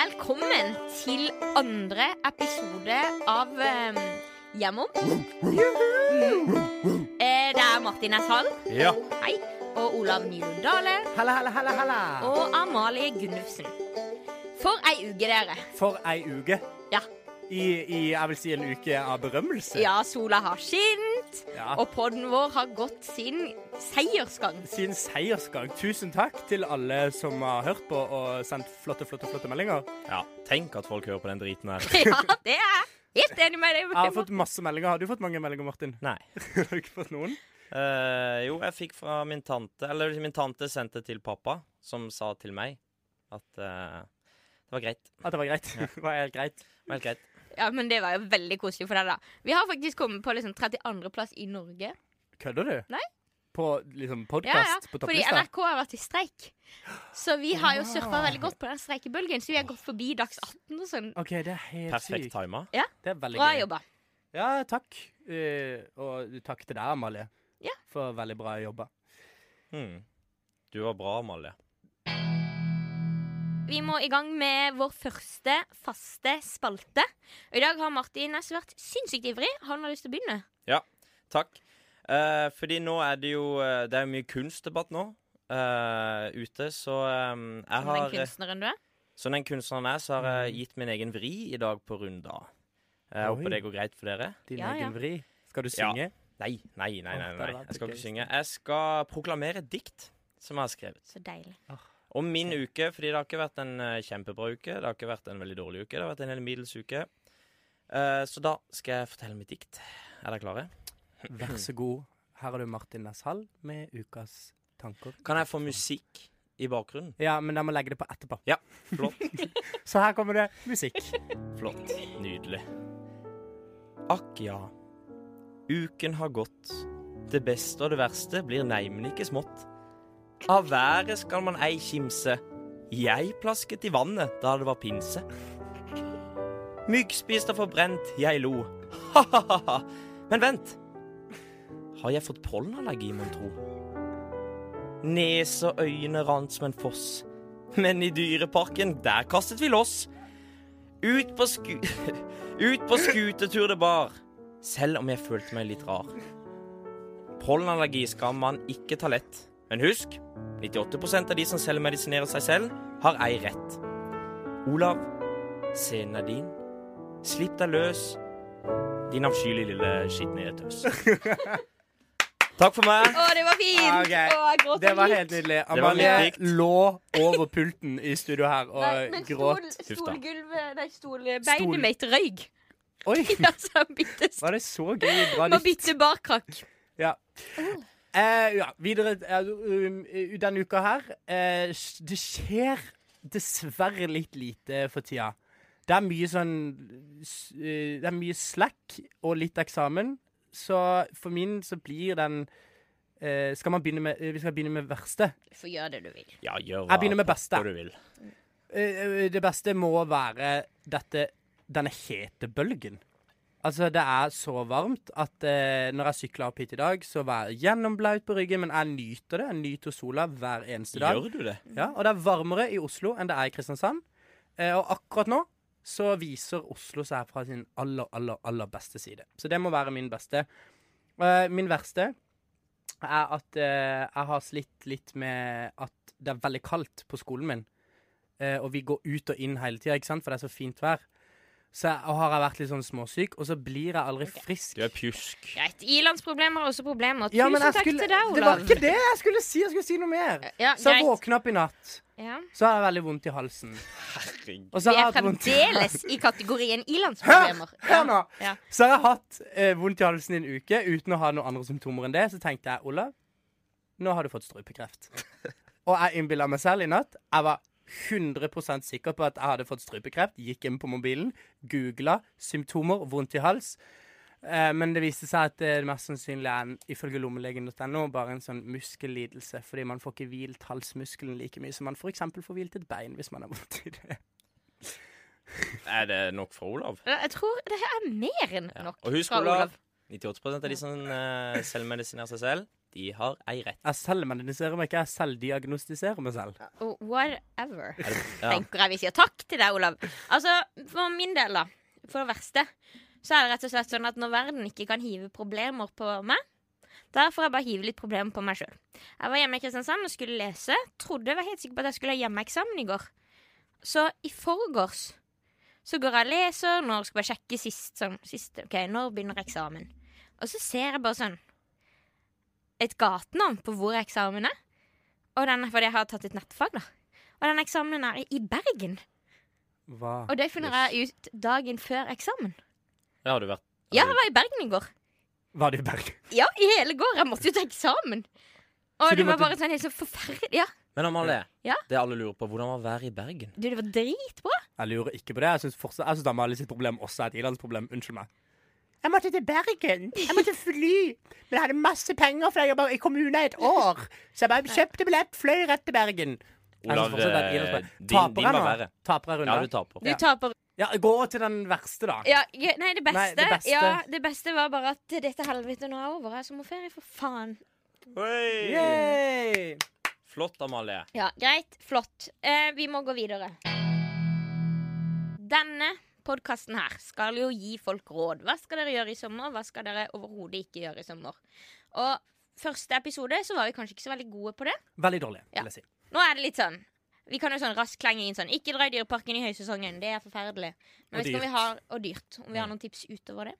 Velkommen til andre episode av um, Hjemom. Mm. Eh, Det er Martin S. Hall Ja. hei, og Olav Nylund Dale Halla, halla, halla, halla. og Amalie Gunnufsen. For ei uke, dere. For ei uke. Ja, I, I jeg vil si en uke av berømmelse. ja sola har skint, Ja. og podden vår har gått sin seiersgang. Sin seiersgang. Tusen takk til alle som har hørt på og sendt flotte, flotte, flotte meldinger. Ja, tenk at folk hører på den driten her. Ja, det er jeg helt enig med deg. Jeg har fått masse meldinger. Har du fått mange meldinger, Martin? Nei. Har du ikke fått noen? Eh, jo, jeg fikk fra min tante Eller min tante sendte til pappa, som sa til meg at eh, det var greit. At det var greit? var helt greit. Det var helt greit. Ja, men det var jo veldig koselig for deg, da. Vi har faktisk kommet på liksom 32. plass i Norge. Kødder du? Nei. På Ja, liksom ja. podkast? På Fordi topplista? NRK har vært i streik. Så vi har jo surfa veldig godt på den streikebølgen. Så vi har gått forbi dags 18 og sånn. OK, det er helt Perfekt sykt. tima. Det er veldig Bra gøy. jobba. Ja, takk. Eh, og takk til deg, Amalie, Ja. for veldig bra jobba. Hmm. Du var bra, Amalie. Vi må i gang med vår første faste spalte. Og i dag har Martin Næss vært sinnssykt ivrig. Han har lyst til å begynne. Takk. Eh, fordi nå er det jo eh, Det er jo mye kunstdebatt nå eh, ute, så eh, jeg Som den har kunstneren du er. Som den kunstneren jeg er, så har jeg gitt min egen vri i dag på runda. Jeg Mm. Oi. håper det går greit for dere. Din Ja, ja. egen vri. Skal du Ja. synge? Nei, nei, nei. Åh, nei, det nei. hadde vært Jeg skal gøy ikke hvis synge. Jeg skal proklamere et dikt som jeg har skrevet. Så deilig. Om min uke, fordi det har ikke vært en eh, kjempebra uke. Det har ikke vært en veldig dårlig uke. Det har vært en helt middels uke. Eh, så da skal jeg fortelle mitt dikt. Er dere klare? Vær så god. Her har du Martin Næss Hall med ukas tanker. Kan jeg få musikk i bakgrunnen? Ja, men jeg må legge det på etterpå. Ja, flott. Så her kommer det musikk. Flott. Nydelig. Akk ja. Uken har gått. Det beste og det verste blir neimen ikke smått. Av været skal man ei kimse. Jeg plasket i vannet da det var pinse. Myggspist og forbrent, jeg lo. Ha-ha-ha. Men vent. Har jeg fått pollenallergi, mon tro? Nese og øyne rant som en foss. Men i dyreparken, der kastet vi loss. Ut på sku... Ut på skutetur det bar. Selv om jeg følte meg litt rar. Pollenallergi skal man ikke ta lett. Men husk, 98 av de som selvmedisinerer seg selv, har ei rett. Olav, scenen er din. Slipp deg løs, din avskyelige lille skitne tøs. Takk for meg. Å, det var fint! Ah, Ok. Å, jeg gråter Det var litt. helt nydelig. Det var litt Amalie likt. lå over pulten i studio her og Nei, men gråt. stol, Huff da. stolgulvet Nei, Stol- stolbeinet mitt røyk. Oi! Ja, så han bytte Var det så gøy? Bra Må dikt. bytte barkrakk. Ja. Eh, ja, videre eh, um, eh, denne uka her eh, s- Det skjer dessverre litt lite for tida. Det er mye sånn s- eh, Det er mye slack og litt eksamen. Så for min så blir den eh, Skal man begynne med eh, Vi skal begynne med verste. Du får gjøre det du vil. Ja, gjør Jeg begynner med beste. hva du vil. Eh, eh, Det beste må være dette, denne hete bølgen. Altså, det er så varmt at eh, når jeg sykler opp hit i dag, så var jeg gjennomblaut på ryggen, men jeg nyter det. Jeg nyter sola hver eneste dag. Gjør du det? Ja, og det er varmere i Oslo enn det er i Kristiansand. Eh, og akkurat nå så viser Oslo seg fra sin aller, aller, aller beste side. Så det må være min beste. Eh, min verste er at eh, jeg har slitt litt med at det er veldig kaldt på skolen min. Eh, og vi går ut og inn hele tida, ikke sant, for det er så fint vær. Så jeg, og har jeg vært litt sånn småsyk, og så blir jeg aldri frisk. Du er pjusk. Greit. Ilandsproblemer er også problemer. Ja, Tusen men jeg takk skulle, til deg, det var Olav. ikke det jeg skulle si! Jeg skulle si noe mer. Ja, Så jeg greit. våkna opp i natt, Ja. så har jeg veldig vondt i halsen. Herregud. Og så Vi har er jeg hatt vondt fremdeles i kategorien ilandsproblemer. Hør nå! Ja. Så har jeg hatt eh, vondt i halsen i en uke uten å ha noen andre symptomer enn det. Så tenkte jeg, Olav, nå har du fått strupekreft. Og jeg innbilla meg selv i natt. Jeg var 100 sikker på at jeg hadde fått strupekreft. Gikk inn på mobilen, googla symptomer, vondt i hals. Eh, men det viste seg at det mest sannsynlig er, en, ifølge lommelegen.no, bare en sånn muskellidelse. Fordi man får ikke hvilt halsmuskelen like mye som man f.eks. får hvilt et bein hvis man har vondt i det. Er det nok for Olav? Ja, Jeg tror det her er mer enn Ja. nok. Og husk, fra Olav, 98 av de som eh, selvmedisinerer seg selv, De har ei rett. Jeg selv mediserer meg ikke, jeg selv diagnostiserer meg selv. Oh, whatever. Er det, ja. Tenker jeg vi sier takk til deg, Olav. Altså, For min del, da. For det verste. Så er det rett og slett sånn at når verden ikke kan hive problemer på meg, da får jeg bare hive litt problemer på meg sjøl. Jeg var hjemme i Kristiansand og skulle lese. Trodde jeg var helt sikker på at jeg skulle ha hjemmeeksamen i går. Så i forgårs så går jeg og leser, når skal jeg sjekke sist sånn sist, OK, når begynner eksamen? Og så ser jeg bare sånn et gatenavn på hvor eksamen er. Og den er fordi jeg har tatt et nettfag, da. Og den eksamen er i Bergen. Hva? Og det finner jeg ut dagen før eksamen. Det har du vært. Ja, jeg var i Bergen i går. Var det i Bergen? Ja, i hele går. Jeg måtte jo til eksamen. Og Så du det var måtte- bare sånn helt så forferdelig. Ja, Men Amalie, Ja? det alle lurer på, hvordan var været i Bergen? du, det var dritbra. Jeg lurer ikke på det. Jeg syns fortsatt- jeg syns Amalie sitt problem også er et Idans problem. Unnskyld meg. Jeg måtte til Bergen. Jeg måtte fly. Men jeg hadde masse penger, for jeg jobba i kommunen i et år. Så jeg bare kjøpte billett, fløy rett til Bergen. Olav, eh, din- din Taper jeg var nå? verre. Taper jeg Ja, du runden? taper. Du taper Ja, gå til den verste, da. ja, ja, Nei, det beste, Nei, det beste. Ja, det beste var bare at dette helvete nå er over. Jeg har sommerferie, for faen. Yay! Flott, Amalie. Ja, greit. Flott. Eh, vi må gå videre. Denne podkasten her skal jo gi folk råd. Hva skal dere gjøre i sommer? Hva skal dere overhodet ikke gjøre i sommer? Og første episode så var vi kanskje ikke så veldig gode på det. Veldig dårlig, Ja. vil jeg si. Nå er det litt sånn Vi kan jo sånn raskt klenge inn sånn Ikke dra i dyreparken i høysesongen. Det er forferdelig. Men Og vet ikke om vi dyrt. har Og dyrt. Om vi har noen tips utover det.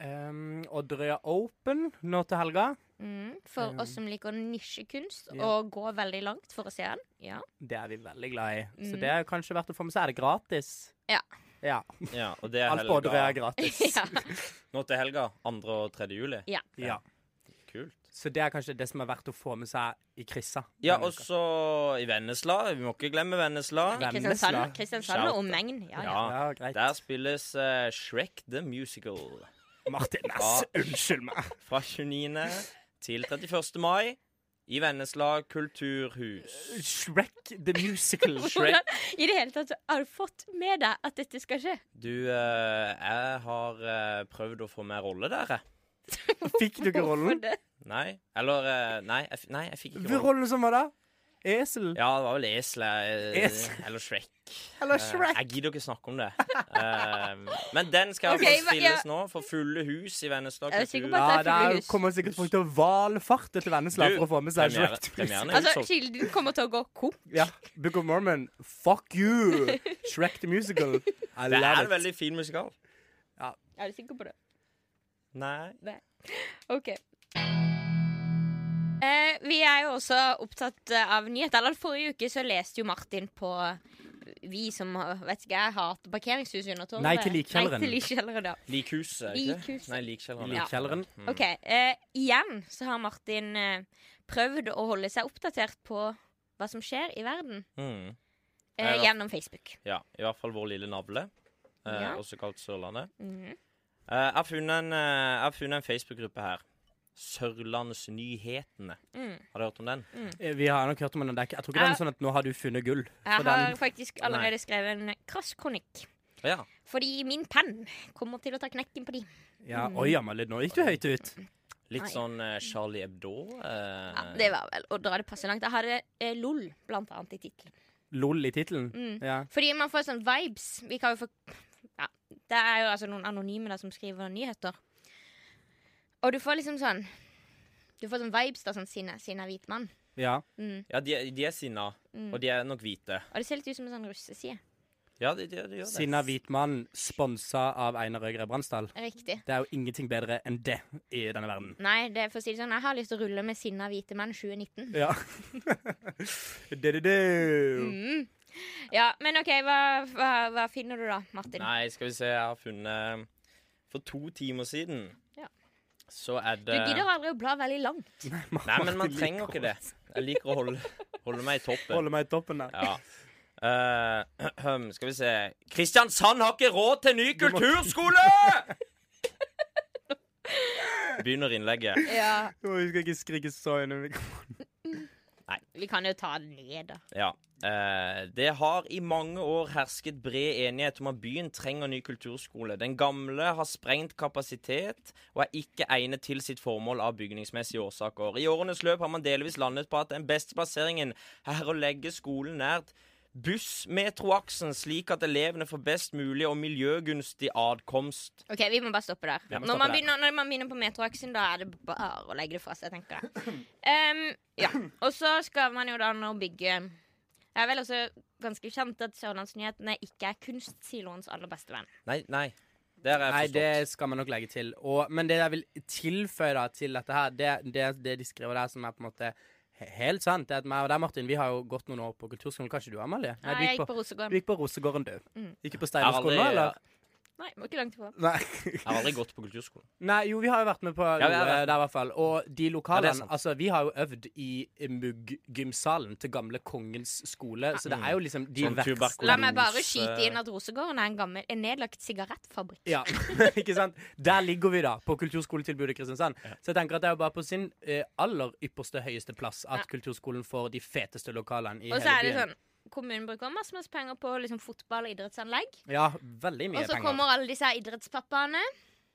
Um, Odderøya Open nå til helga. Mm, for Ja. oss som liker nisjekunst, Ehm. Ja. og gå veldig langt for å se den. Ja. Det er vi veldig glad i. Så Mm. det er kanskje verdt å få med seg. Er det gratis? Ja. ja. Ja, og det er Alt på Odderøya er helga. gratis. ja. Nå til helga. 2. og 3. juli. ja. Kult. Så det er kanskje det som er verdt å få med seg i krissa. Ja, denne og uka. så i Vennesla. Vi må ikke glemme Vennesla. Vennesla. Kristiansand, Kristiansand Shout. og omegn. Ja, ja. Ja. ja, greit. Der spilles eh, Shrek the Musical. Martin Ja. S, unnskyld meg. Fra 29. til 31. mai i Vennesla kulturhus. Shrek the Musical. Hvordan i det hele tatt har du fått med deg at dette skal skje? Du, eh, jeg har eh, prøvd å få med rolle der, jeg. Fikk du ikke rollen? Hvorfor det? Nei. Eller eh, nei, jeg, f- nei, jeg fikk ikke Hvilken rolle. rolle som var da? Esel? Ja, det var vel eselet. eh, Esel. Eller Shrek. Eller Eh, Shrek? Jeg gidder ikke snakke om det. Eh, men den skal Ok, okay, men- spilles nå, for fulle hus i Vennesla Jeg er sikker på at- Ja, kultur. det er der fuglehus. kommer sikkert folk til å valfarte til Vennesla Du, for å få med seg Premiere- Shrek. liksom. the Musical. Premieren er Altså, utsolgt. Kilden kommer til å gå kom. Ja. Book of Mormon, fuck you! Shrek the Musical. I Det er love en it. veldig fin musikal. Er du sikker på det? Nei. OK. Eh, vi er jo også opptatt eh, av nyheter. Eller forrige uke så leste jo Martin på eh, vi som har- vet ikke, jeg hater parkeringshus under tårnet. Nei til likkjelleren. Nei, til likkjelleren, ja. Likhuset, er det ikke? Likhuset. det? Nei, Likkjelleren. Ja. Likkjelleren. Mm. OK. Eh, igjen så har Martin eh, prøvd å holde seg oppdatert på hva som skjer i verden Mm. eh, Ja. gjennom Facebook. Ja, i hvert fall vår lille navle, eh, Ja. også kalt Sørlandet. Mhm. Eh, jeg har funnet en, eh, jeg har funnet en Facebook-gruppe her. Sørlandsnyhetene. Mm. Har du hørt om den? Eh, Vi har nok hørt om den. Det er ikke- Jeg tror ikke den Ja. er sånn at nå har du funnet gull. Jeg For den- har faktisk allerede skrevet en krass kronikk. Ja. Fordi min penn kommer til å ta knekken på de. Ja, Mm. Oi, Amalie, nå gikk du høyt ut. Litt Nei. sånn eh, Charlie Hebdo. eh, Ja, det var vel å dra det passe langt. Jeg hadde eh, LOL blant annet i tittelen. LOL i tittelen. Mm. Ja. Fordi man får sånn vibes. Vi kan jo få ja, Det er jo altså noen anonyme der som skriver nyheter. Og du får liksom sånn Du får sånn vibes da, sånn sinne, sinne hvit mann. ja. Mm. ja de, er- de er sinna, Mm. og de er nok hvite. Og det ser litt ut som en sånn russeside. Ja, de, de, de gjør det. Sinna Hvitmann, sponsa av Einar Øgre Bransdal. Riktig. Det er jo ingenting bedre enn det i denne verden. Nei, det er for å si det sånn, jeg har lyst til å rulle med sinna hvite menn 2019. Ja. Du-du-du. Mm. Ja, men OK, hva, hva, hva finner du da, Martin? Nei, skal vi se, jeg har funnet For to timer siden Ja. så er det Du gidder aldri å bla veldig langt. Nei, men man trenger ikke det. Jeg liker å holde, holde meg i toppen. Holder meg i toppen der. Ja. Eh, skal vi se Kristiansand har ikke råd til ny kulturskole! Begynner innlegget. Ja, Å, Vi skal ikke skrike så inn i mikrofonen. Nei. Vi kan jo ta det ned, da. Ja. Eh, det har i mange år hersket bred enighet om at byen trenger ny kulturskole. Den gamle har sprengt kapasitet og er ikke egnet til sitt formål av bygningsmessige årsaker. I årenes løp har man delvis landet på at den beste plasseringen er å legge skolen nært buss-metroaksen, slik at elevene får best mulig og miljøgunstig adkomst. Ok, Vi må bare stoppe der. Vi når, må stoppe man der. begynner, når man begynner på metroaksen, da er det bare å legge det fra seg, tenker jeg. Ehm, ja. Og så skal man jo da nå bygge Det er vel også ganske kjent at Sørlandsnyhetene ikke er kunstsiloens aller beste venn. Nei, nei. Det har jeg Nei, forstått. det skal man nok legge til. Og, men det jeg vil tilføye da, til dette her, det, det, det de skriver der som er på en måte he- helt sant, det er at meg og deg, Martin, vi har jo gått noen år på kulturskolen. Kanskje du, Amalie? Nei, du jeg gikk gikk på du Rosegården. gikk på Rosegården, du. Mm. Gikk du på Jeg har Steinerskolen nå, aldri- eller? Nei, må ikke langt ifra. Nei. Jeg har aldri gått på kulturskolen. Nei, jo, vi har jo vært med på vi har noe vært- der, i hvert fall. Og de Ja, det er lokalene sant. Altså, vi har jo øvd i Mugg-gymsalen til gamle Kongens skole, så det er jo liksom de Sånn verste tuberkulose- La meg bare Rose- skyte inn at Rosegården er en gammel, en nedlagt sigarettfabrikk. Ja, ikke sant? Der ligger vi, da, på kulturskoletilbudet i Kristiansand. Så jeg tenker at det er jo bare på sin eh, aller ypperste høyeste plass at Ja. kulturskolen får de feteste lokalene i Og så hele er det byen. sånn Kommunen bruker masse masse penger på liksom, fotball og idrettsanlegg. Ja, veldig sånn- Og mye så penger. kommer alle disse her idrettspappaene.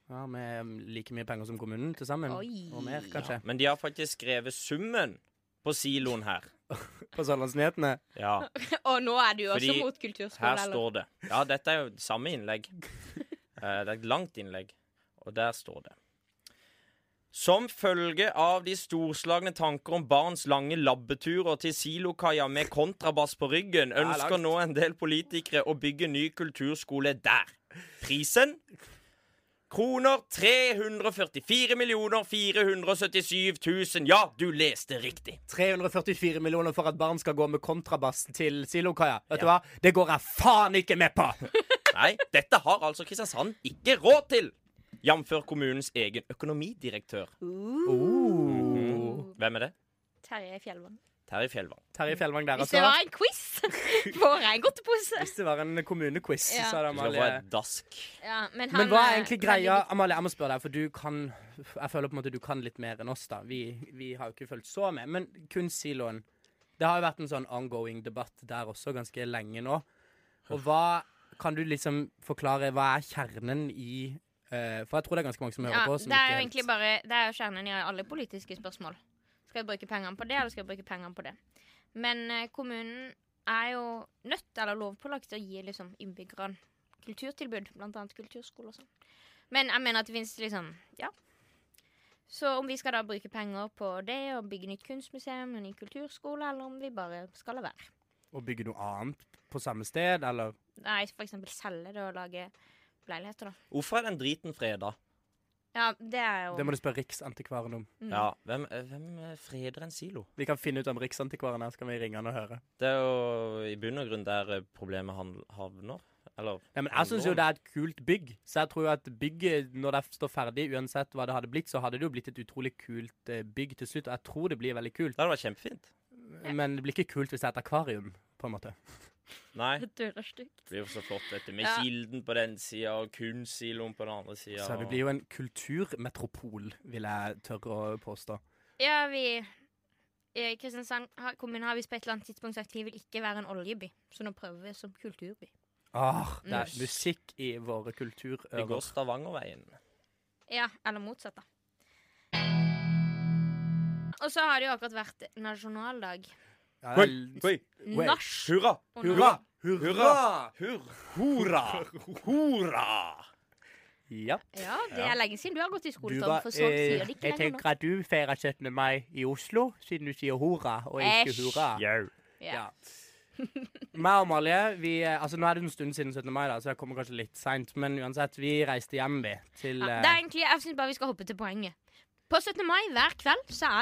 Ja, Med um, like mye penger som kommunen til sammen. Oi. Og mer, kanskje. Men de har faktisk skrevet summen på siloen her. På Sørlandsnyhetene. Ja. Og nå er du også Fordi mot kulturskole. Her eller? står det. Ja, dette er jo samme innlegg. Eh, det er et langt innlegg, og der står det. Som følge av de storslagne tanker om barns lange labbeturer til silokaia med kontrabass på ryggen, ønsker langt. nå en del politikere å bygge ny kulturskole der. Prisen? Kroner 344 477 000. Ja, du leste riktig. 344 millioner for at barn skal gå med kontrabass til silokaia. Vet du hva? Det går jeg faen ikke med på! Nei, dette har altså Kristiansand ikke råd til. Jf. kommunens egen økonomidirektør. Oh. Hvem er det? Terje Fjellvang. Terje Fjellvang. Terje Fjellvang der, Hvis det altså. var en quiz, får jeg en godtepose. Hvis det var en kommunequiz, Ja. så er det Du skal få Amalie. et dask. Ja, men, han Men hva er eh, egentlig veldig greia? god. Amalie, jeg må spørre deg, for du kan Jeg føler på en måte du kan litt mer enn oss, da. Vi, vi har jo ikke fulgt så med. Men kunstsiloen Det har jo vært en sånn ongoing debatt der også ganske lenge nå. Og hva Kan du liksom forklare hva er kjernen i eh, For jeg tror det er ganske mange som hører Ja, på. Som det er ikke jo helt- egentlig bare Det er jo kjernen i alle politiske spørsmål. Skal vi bruke pengene på det, eller skal vi bruke pengene på det? Men eh, kommunen er jo nødt, eller lovpålagt, til å gi liksom, innbyggerne kulturtilbud. Blant annet kulturskole og sånn. Men jeg mener at det fins liksom Ja. Så om vi skal da bruke penger på det, og bygge nytt kunstmuseum og ny kulturskole, eller om vi bare skal la være. Å bygge noe annet på samme sted, eller Nei, f.eks. selge det og lage leiligheter, da. Hvorfor er den driten freda? Ja, det er jo Det må du spørre Riksantikvaren om. Mm. Ja, hvem, eh, hvem eh, freder en silo? Vi kan finne ut om Riksantikvaren er, så kan vi ringe han og høre. Det er jo i bunn og grunn der eh, problemet handl- havner. Eller Nei, men Jeg syns jo det er et kult bygg, så jeg tror jo at bygget, når det står ferdig, uansett hva det hadde blitt, så hadde det jo blitt et utrolig kult eh, bygg til slutt, og jeg tror det blir veldig kult. Det hadde vært kjempefint. Men det blir ikke kult hvis det er et akvarium, på en måte. Nei. Det dører stygt. Det blir jo så flott, dette. Med Ja. Kilden på den sida og kunstsiloen på den andre sida. Så vi blir jo en kulturmetropol, vil jeg tørre å påstå. Ja, vi i Kristiansand har- kommune har vi på et eller annet tidspunkt sagt vi vil ikke være en oljeby, så nå prøver vi som kulturby. Ah, det er Mm. musikk i våre Vi går kulturører. Stavangerveien. Ja, eller motsatt, da. Og så har det jo akkurat vært nasjonaldag. Ja, det er Oi, l- oi, Wait. Nach Hurra! og Hurra! Hurra! Hurra! Hurra! Hurra! Ja. Ja, det er lenge siden du har gått i skole, Du Tom, var, for sånn eh, sier de ikke jeg lenger nå. tenker at du feirer 17. mai i Oslo, siden du sier hurra og ikke Æsj. hurra. Jau. Ja. Meg og Malje, vi, altså nå er det en stund siden 17. mai, da, så jeg kommer kanskje litt seint. Men uansett, vi reiste hjem, vi. Til Ja, eh, det er egentlig, Jeg syns bare vi skal hoppe til poenget. På 17. mai hver kveld så er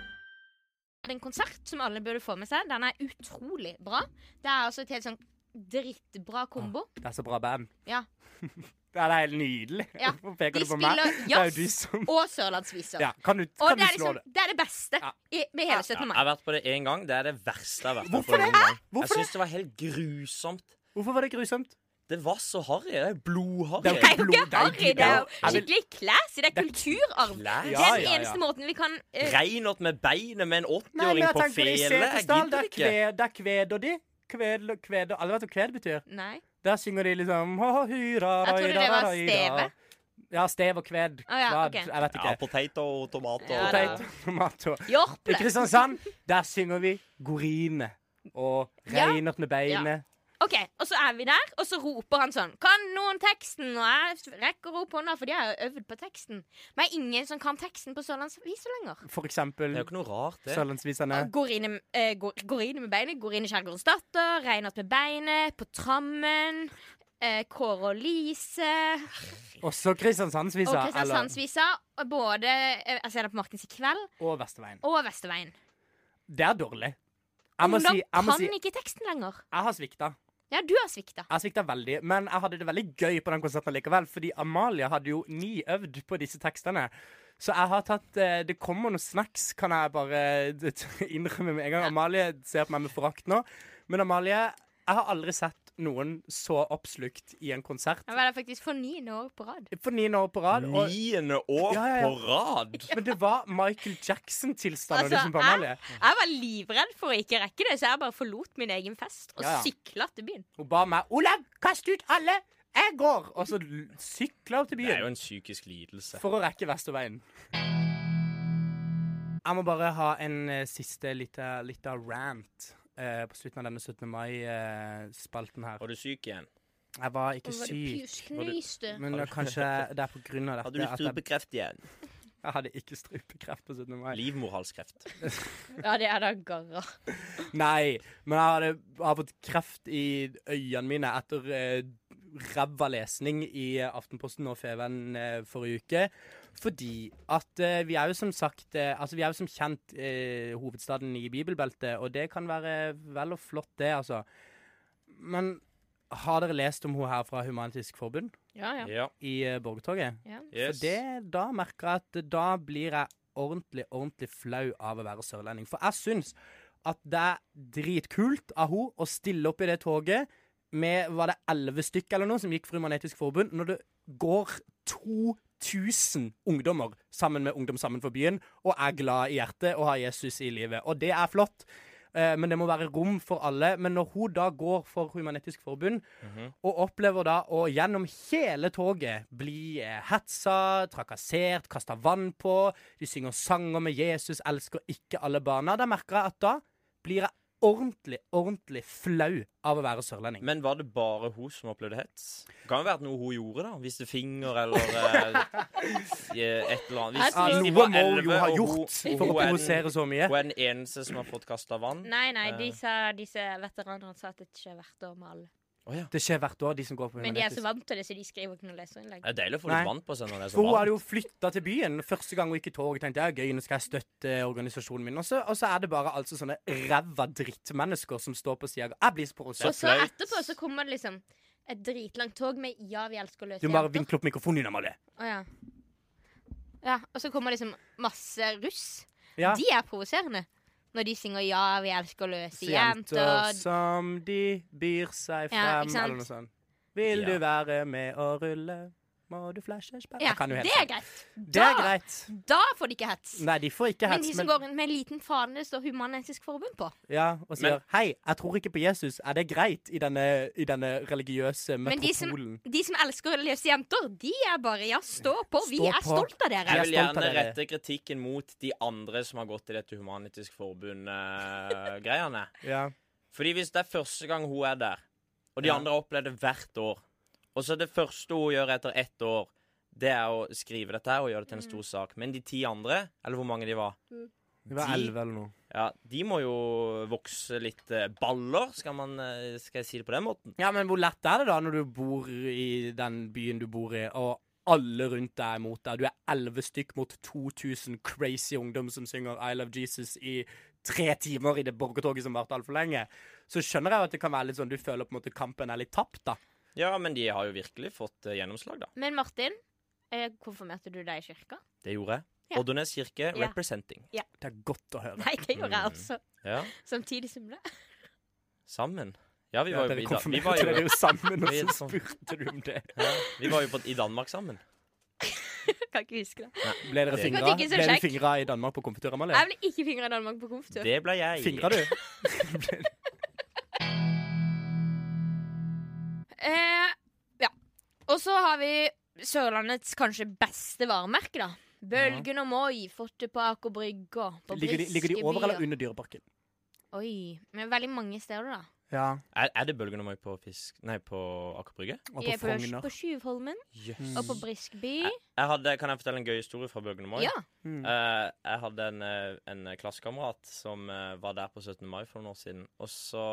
hatt en konsert som alle burde få med seg. Den er utrolig bra. Det er altså et helt sånn drittbra kombo. Det er så bra band. Ja. Det er helt nydelig. Ja. Hvorfor peker De du på meg? spiller Det er jo jazz. de som Og sørlandsviser. ja, Kan du, Og kan du det er, slå liksom, det? det er det beste Ja. i, med hele Ja, 17. jeg mai. har vært på det én gang. Det er det verste jeg har vært Hvorfor på. det? noen gang. Hvorfor det? jeg syns det var helt grusomt. Hvorfor var det grusomt? Det var så harry. Det er blodharry. Det er Det er jo ikke blod, det er harry, det er blod. jo Jeg vil- skikkelig classy. Det er Det er kulturarv. classy. Det er Ja, den ja, eneste ja. måten vi kan eh, Reinert med beinet med Nei, men en 80-åring jeg på tenker liksom, på i fele. Jeg Setesdal. Det gidder er ikke. kved, det er kved og de. Kved, kved, alle vet hva kved betyr? Nei. Der synger de liksom «Hå, hå, hyra, Jeg trodde raida, det var raida». steve. Ja, stev og kved. Å, ja, Kvad, ok. Jeg vet Ja, ikke. potet og tomat Ja, og da. Potet, tomat og I Jorple. Kristiansand, der synger vi Gorine og Ja. Reinert med beinet. Ok, Og så er vi der, og så roper han sånn Kan noen teksten? Og jeg rekker opp hånda, for de har jo øvd på teksten. Men det er ingen som kan teksten på sørlandsviser lenger. For Det er eksempel jo ikke noe rart, det. Sørlandsvisene. Går inn, i- eh, går, går inn med beinet. Går inn i Skjærgårdens datter. Reinert med beinet. På trammen. Eh, Kåre og Lise. Også Kristiansandsvisa. Og eller- Kristiansandsvisa. og Både eh, Jeg ser det på Markens i kveld Og Vesterveien. og Vesterveien. Det er dårlig. Jeg må Ungdom si, jeg, må kan si, ikke teksten lenger. jeg har svikta. Ja, du har svikta. Jeg svikta veldig, men jeg hadde det veldig gøy på den konserten likevel, fordi Amalie hadde jo ni øvd på disse tekstene. Så jeg har tatt eh, Det kommer noen snacks, kan jeg bare eh, innrømme med en gang. Amalie ser på meg med forakt nå. Men Amalie, jeg har aldri sett noen så oppslukt i en konsert. Jeg var der faktisk for niende år på rad. For niende år på rad. Og, Niende år Ja, ja, ja. på rad. men det var Michael Jackson-tilstander Altså, liksom på Amalie. jeg, jeg var livredd for å ikke rekke det, så jeg bare forlot min egen fest og Ja, ja. sykla til byen. Hun ba meg 'Olav, kast ut alle! Jeg går!' Og så l- sykla hun til Det er jo byen en psykisk lidelse. for å rekke Vesterveien. Jeg må bare ha en eh, siste lita, lita rant eh, på slutten av denne 17. mai-spalten her. Var du syk igjen? Jeg var ikke syk, men det er kanskje det er på grunn av Hadde du dette at jeg, strupekreft igjen? jeg hadde ikke strupekreft på 17. mai. Livmorhalskreft. Ja, det er da garra. Nei, men jeg hadde, jeg har fått kreft i øynene mine etter eh, ræva lesning i eh, Aftenposten og Feven eh, forrige uke. Fordi at eh, vi er jo som sagt eh, Altså, vi er jo som kjent eh, hovedstaden i bibelbeltet, og det kan være vel og flott, det, altså. Men har dere lest om hun her fra Humanitisk Forbund Ja, ja. Ja. i eh, borgertoget? ja. Yes. For det, da merker jeg at da blir jeg ordentlig, ordentlig flau av å være sørlending. For jeg syns at det er dritkult av henne å stille opp i det toget med var det elleve stykk eller noe som gikk for Human-Etisk Forbund, når det går 2000 ungdommer sammen med Ungdom sammen for byen og er glad i hjertet og har Jesus i livet. Og det er flott. eh, Men det må være rom for alle. Men når hun da går for Human-Etisk Forbund, og opplever da å gjennom hele toget bli eh, hetsa, trakassert, kasta vann på. De synger sanger med 'Jesus elsker ikke alle barna'. Da merker jeg at da blir jeg ordentlig, ordentlig flau av å være sørlending. Men var det bare hun som opplevde hets? Det kan jo være at noe hun gjorde, da. Viste finger eller eh, eh, et eller annet. Jeg Hvis, tror- hvis de Noe var må hun jo 11, ha og gjort og for å hun er den- provosere så mye. Hun er den eneste som har fått kasta vann. Å Nei, Eh. nei, disse, disse veteranene sa at det ikke er hvert år med alle. ja. Det skjer hvert år, de som går på Men de er så humanitisk. vant til det, så de skriver ikke noe leserinnlegg. Det er deilig å få Nei. litt vann på seg når det er så For hun hadde varmt. jo flytta til byen første gang hun gikk i tog. Tenkte jeg, gøy, nå skal jeg støtte organisasjonen eh, min. Og så, og så er det bare altså sånne ræva drittmennesker som står på "Äh, sida. Jeg blir så Og provosert. så flaut. etterpå så kommer det liksom et dritlangt tog med 'Ja, vi elsker løse Du må bare jenter'. vinkle opp mikrofonen din, Amalie. Å, ja. ja, og så kommer liksom masse russ. Ja. De er provoserende. Når de synger 'Ja, vi elsker løse Så jenter jenter'. som de byr seg frem, Ja, ikke sant? eller noe sånt. Vil Ja. du være med å rulle, må du flashe spenn Ja, Jeg kan jo helt det er sånn. greit. Det er greit. Da får de ikke hets. Nei, de får ikke Men hets, de som men, går rundt med en liten fane det står Human-Etisk Forbund på. ja, og sier Men- 'Hei, jeg tror ikke på Jesus'. Er det greit i denne, i denne religiøse Men de som, metropolen? de som elsker løse jenter, de er bare Ja, stå på! Vi Stå er på. stolt av dere! Ja. Jeg er vil stolt av gjerne dere. rette kritikken mot de andre som har gått til dette eh, Humanitisk Forbund-greiene. Ja. Fordi hvis det er første gang hun er der, og de andre har opplevd det hvert år, og så det første hun gjør etter ett år, det er å skrive dette her og gjøre det til en stor sak. Men de ti andre, eller hvor mange de var, Det var De- elleve eller noe. ja, de må jo vokse litt eh, baller, skal, man, eh, skal jeg si det på den måten. Ja, men hvor lett er det da når du bor i den byen du bor i, og alle rundt deg er mot deg? Du er elleve stykk mot 2000 crazy ungdom som synger I Love Jesus i tre timer i det borgertoget som varte altfor lenge, så skjønner jeg jo at det kan være litt sånn du føler på en måte kampen er litt tapt, da. Ja, men de har jo virkelig fått eh, gjennomslag, da. Men Martin, eh, konfirmerte du deg i kirka? Det gjorde jeg. Ja. Oddernes kirke Ja. representing. Det er godt å høre. Nei, det gjorde jeg Mm. altså. Ja, Samtidig som det. sammen. Ja, vi Ja, var jo dere i, da vi var konfirmerte jo, dere jo sammen, Vi er og så sånn. spurte du om det. ja, vi var jo på, i Danmark sammen. Kan ikke huske det. Ble dere Det- fingra, Men ikke så ble dere kjekk. fingra i Danmark på konfitur, Amalie? Jeg ble ikke fingra i Danmark på konftur. Det ble jeg. Fingra du? Eh, ja. Og så har vi Sørlandets kanskje beste varemerke, da. Bølgen og Moi, Forte på Aker Brygge og på Ligger de, ligger de Briskeby over eller og- under Dyreparken? Oi. Men veldig mange steder, da. Ja. Er, er det bølgen og meg på fisk... Nei, på Aker Brygge? Og Jeg på er Frogner. På Sjuvholmen Jøss. og på Briskeby. Jeg hadde, kan jeg fortelle en gøy historie fra Bølgen og Moi? Ja. Mm. Eh, jeg hadde en, eh, en klassekamerat som eh, var der på 17. mai for noen år siden. Og så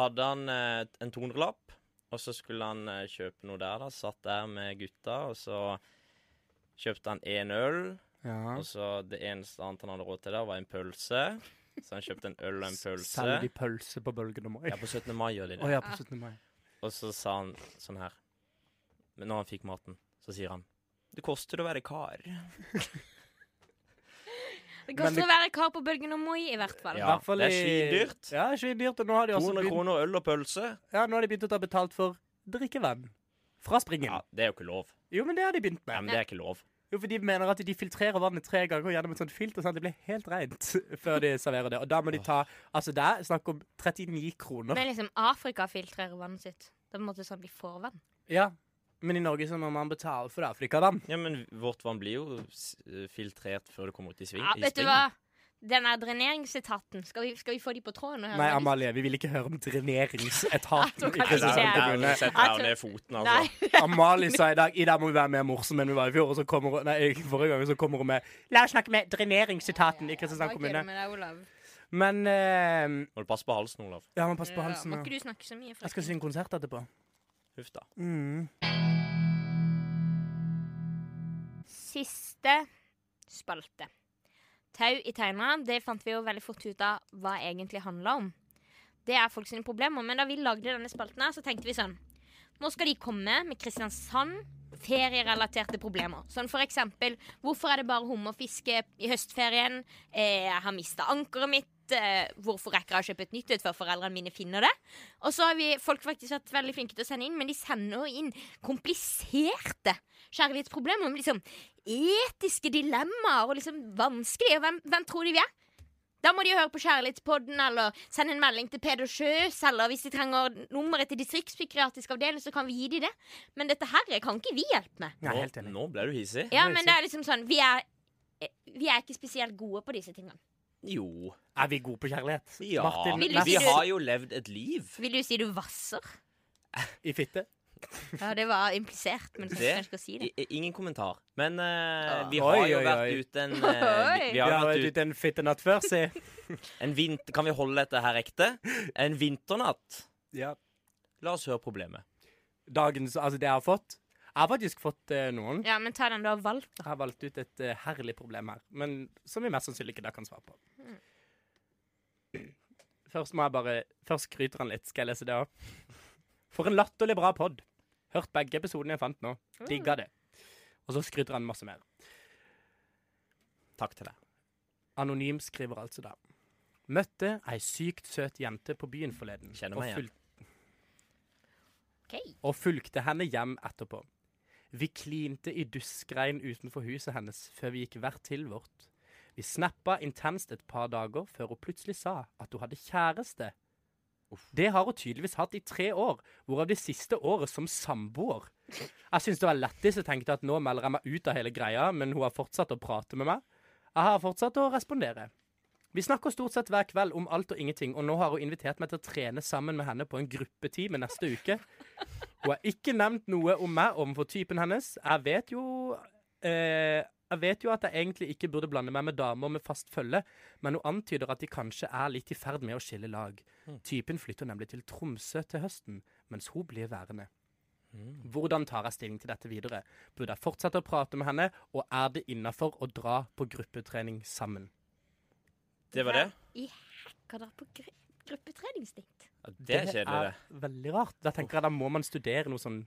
hadde han eh, en 200-lapp, og så skulle han eh, kjøpe noe der. da Satt der med gutta, og så kjøpte han én øl. Ja. Og så det eneste annet han hadde råd til der, var en pølse. Så han kjøpte en øl og en pølse. Selger de pølse på Bølgen og Moi? Ja, på 17. mai gjør de Å det. ja, på 17. mai. Og så sa han sånn her Men når han fikk maten, så sier han Det koster å være kar. Det Men koster å det- være kar på Bølgen og Moi, i hvert fall. Ja. det er svindyrt. Ja, svindyrt. Og nå har de også 200 begynt, kroner øl og pølse. ja, nå har de begynt å ta betalt for drikkevann. Fra springen. Ja, det er jo ikke lov. Jo, men det har de begynt Nei, men med. det er ikke lov. Jo, for De mener at de filtrerer vannet tre ganger gjennom et sånt filter, sånn at det blir helt rent før de serverer det. Og da må de ta Altså, det er snakk om 39 kroner. Men liksom, Afrika filtrerer vannet sitt. Det er på en måte sånn de får vann. Ja. Men i Norge så må man betale for det, for de ikke har vann. Ja, men vårt vann blir jo s- eh, filtrert før det kommer ut i sving. Ja, i vet du springen. hva? Den der dreneringsetaten, skal vi, skal vi få de på tråden? og høre Nei, hva de- Amalie, vi vil ikke høre om dreneringsetaten. Jeg tror i kanskje Nei, ikke Kristiansand det er- Der, kommune. der setter jeg jo ned foten, altså. Nei. Amalie sa i dag I dag må vi være mer morsomme enn vi var i fjor. Og så kommer hun, nei, forrige gang så kommer hun med La oss snakke med dreneringsetaten i Bare Kristiansand kødde kommune. med deg, Olav. Men eh, Må du passe på halsen, Olav. Ja, man passer på Ja, halsen. Må ja. ikke Eh, du snakke så mye? Jeg skal synge konsert etterpå. Huff da. Siste spalte. Tau i tegneren, det fant vi jo veldig fort ut av hva egentlig handla om. Det er folk sine problemer, men da vi lagde denne spalten, her, så tenkte vi sånn Nå skal de komme med Kristiansand ferierelaterte problemer. Sånn for eksempel Hvorfor er det bare hummerfiske i høstferien? Eh, Jeg har mista ankeret mitt. Eh, Hvorfor rekker jeg å kjøpe et nytt ut før foreldrene mine finner det? Og så har vi folk faktisk vært veldig flinke til å sende inn, men de sender jo inn kompliserte kjærlighetsproblemer. om Liksom etiske dilemmaer og liksom vanskelig. Og hvem, hvem tror de vi er? Da må de høre på Kjærlighetspodden eller sende en melding til Peder Sjøs. Eller hvis de trenger nummeret til distriktspsykiatrisk avdeling, så kan vi gi dem det. Men dette her kan ikke vi hjelpe med. Jeg er helt Nå, enig. nå ble du hissig. Ja, men det er liksom sånn Vi er, eh, vi er ikke spesielt gode på disse tingene. Jo. Er vi gode på kjærlighet? Ja. Martin, Vil du vær si vi du- så- har jo levd et liv. Vil du si du vasser? I fitte? Ja, det var implisert, men kanskje jeg skal si det. i- i- Ingen kommentar. Men eh, vi Oi, har jo oi, vært oi. ute en eh, vi- Vi har Ja, vært du ute den fittenatt før, si. en vinter... Kan vi holde dette her ekte? En vinternatt. Ja. La oss høre problemet. Dagens Altså, det jeg har fått Jeg har faktisk fått eh, noen. Ja, men ta den du har valgt. Jeg har valgt ut et eh, herlig problem her, men som vi mest sannsynlig ikke da kan svare på. Først må jeg bare Først skryter han litt. Skal jeg lese det òg? For en latterlig bra pod. Hørt begge episodene jeg fant nå. Ah. Digga det. Og så skryter han masse mer. Takk til deg. Anonym skriver altså da. Møtte ei sykt søt jente på byen forleden. Kjenner og meg igjen. fulg- OK. og fulgte henne hjem etterpå. Vi klinte i duskregn utenfor huset hennes før vi gikk hvert til vårt. Vi snappa intenst et par dager før hun plutselig sa at hun hadde kjæreste. Det har hun tydeligvis hatt i tre år, hvorav det siste året som samboer. Jeg syns det var lættis og tenkte at nå melder jeg meg ut av hele greia, men hun har fortsatt å prate med meg. Jeg har fortsatt å respondere. Vi snakker stort sett hver kveld om alt og ingenting, og nå har hun invitert meg til å trene sammen med henne på en gruppetime neste uke. Hun har ikke nevnt noe om meg overfor typen hennes. Jeg vet jo eh, Jeg vet jo at jeg egentlig ikke burde blande meg med damer med fast følge, men hun antyder at de kanskje er litt i ferd med å skille lag. Hmm. Typen flytter nemlig til Tromsø til høsten, mens hun blir værende. Hmm. Hvordan tar jeg stilling til dette videre? Burde jeg fortsette å prate med henne, og er det innafor å dra på gruppetrening sammen? Det var det? I hekka da på gru gruppetreningsdate. Ja, det er kjedelig, det. er veldig rart. Da tenker jeg da må man studere noe sånn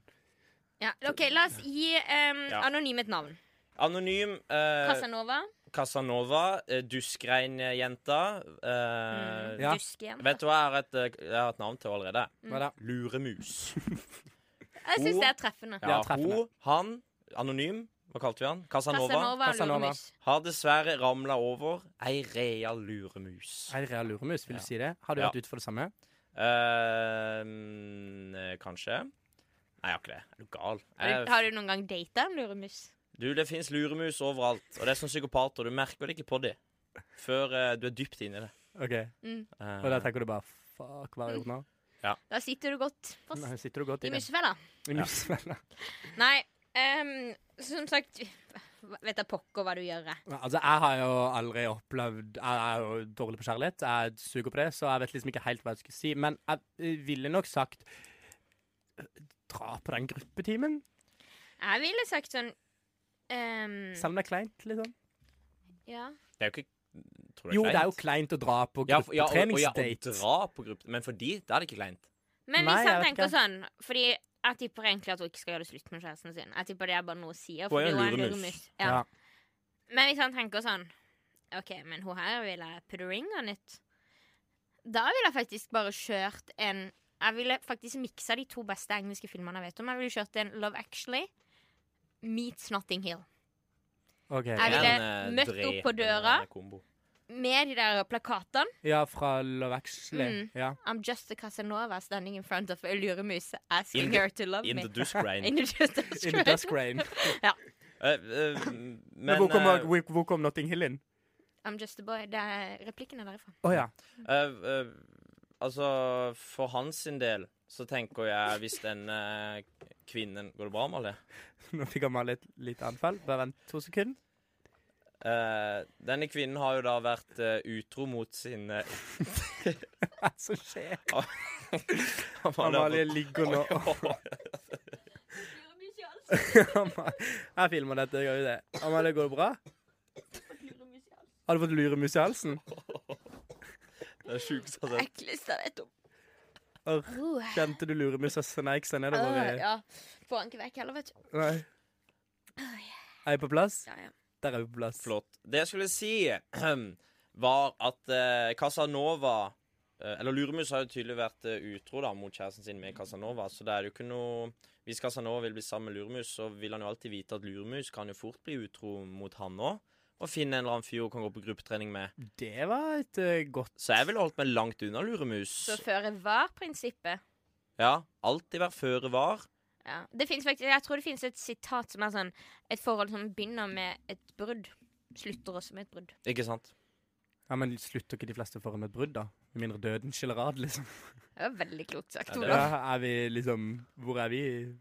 Ja, OK, la oss gi um, Ja. anonym et navn. Anonym eh, Casanova. Casanova, eh, duskrein-jenta. eh, Ja. Dusk igjen. Vet du hva jeg har et, eh, jeg har et navn til allerede? Hva da? Luremus. Jeg syns det er treffende. Ja, Ja, treffende. hun, han, anonym, hva kalte vi han? Casanova. Casanova, Casanova. Luremus. Har dessverre ramla over ei real luremus. Er det real luremus? Vil du si det? Har du Ja. vært ute for det samme? Eh, mm, kanskje. Nei, jeg har ikke det. Er du gal? Har, du- Jeg, har du noen gang data en luremus? du, det fins luremus overalt, og det er som psykopater. Du merker det ikke på dem før eh, du er dypt inni det. OK. Eh, Og da tenker du bare Fuck, hva har jeg gjort nå? Mm. Da sitter du godt Nei, fast sitter du godt i i det? musefella. I musefella. Nei, ehm, som sagt Vet jeg pokker hva du gjør. jeg. Ja, Altså, jeg har jo aldri opplevd Jeg er jo dårlig på kjærlighet. Jeg suger på det, så jeg vet liksom ikke helt hva jeg skulle si. Men jeg ville nok sagt Dra på den gruppetimen. Mm. Jeg ville sagt sånn ehm, Selv om det er kleint, liksom. Ja. Det er jo ikke tror du Jo, det er jo kleint? kleint å dra på ja, for- ja, og, og, ja, gruppetreningsdate. å dra på gruppe Men for de, da er det ikke kleint. Men Nei, hvis han jeg vet tenker sånn Fordi jeg tipper egentlig at hun ikke skal gjøre det slutt med kjæresten sin. Jeg tipper det er bare noe hun sier. Hun er fordi en hun er en luremus. luremus. Ja. Ja. Men hvis han tenker sånn OK, men hun her vil jeg put a ring on it. Da ville jeg faktisk bare kjørt en Jeg ville faktisk miksa de to beste engelske filmene jeg vet om. Jeg ville kjørt en Love Actually meets Notting Hill. OK. Jeg ville En, eh, møtt opp på drepende døra. kombo. Med de der plakatene. Ja, fra Love Actually. Mm. Ja. I'm just a Casanova standing in front of a luremus asking In the- her to love In me. the dusk rain. In the just In the dusk rain. ja. Eh, eh, men, Men hvor kom, eh, hvor- hvor kom Notting Hill inn? I'm just a boy. Det er replikkene derifra. Å ja. Eh, eh, altså, for hans sin del så tenker jeg hvis denne kvinnen Går det bra, Amalie? Nå fikk han meg et lite anfall. Bare vent to sekunder. Eh, denne kvinnen har jo da vært eh, utro mot sin eh, Hva er det som skjer? Amalie Amalie. ligger nå Ama- Jeg filmer dette. jeg gjør jo det. Amalie, går det bra? Har du fått luremus i halsen? Det er sjukt, altså. Ekleste jeg vet om. Arr, Uh, Kjente du luremusa sneik seg nedover? i- Ah, ja. Får han ikke vekk heller, vet du. Nei. Er jeg på plass? Ah, Ja, ja. Der er vi på plass. Flott. Det jeg skulle si, var at eh, Casanova eh, Eller Luremus har jo tydelig vært eh, utro da mot kjæresten sin med Casanova, så det er jo ikke noe Hvis Casanova vil bli sammen med Luremus, så vil han jo alltid vite at Luremus kan jo fort bli utro mot han òg. Og finne en eller annen fyr hun kan gå på gruppetrening med. Det var et eh, godt Så jeg ville holdt meg langt unna Luremus. Så føre var-prinsippet. Ja. Alltid være føre var. Ja. Det finnes faktisk, jeg tror det finnes et sitat som er sånn Et forhold som begynner med et brudd, slutter også med et brudd. Ikke sant? Ja, Men slutter ikke de fleste foran et brudd, da? Med mindre døden skiller ad, liksom. Det var veldig klokt sagt, det- Olav. Ja, er vi liksom Hvor er vi?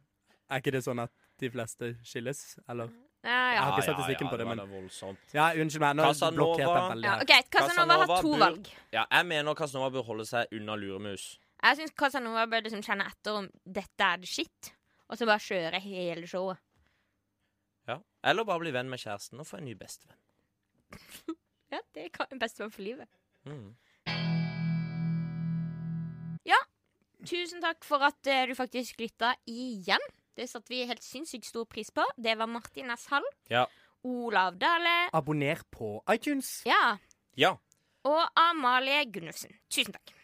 Er ikke det sånn at de fleste skilles, eller? Ja, ja. har ikke statistikken på det, men- var da voldsomt. Ja, unnskyld meg. Nå Casanova. blokkerte jeg veldig ja her. OK, Casanova har to bør- valg. Ja, jeg mener Casanova bør holde seg unna luremus. Jeg syns Casanova bør liksom kjenne etter om dette er det shit, og så bare kjøre hele showet. Ja. Eller bare bli venn med kjæresten og få en ny bestevenn. Ja, det er en bestevenn for livet. Mm. Ja, tusen takk for at eh, du faktisk lytta igjen. Det satte vi helt sinnssykt stor pris på. Det var Martin S. Hall, Ja. Olav Dale Abonner på iTunes. ja, ja. og Amalie Gunnufsen. Tusen takk.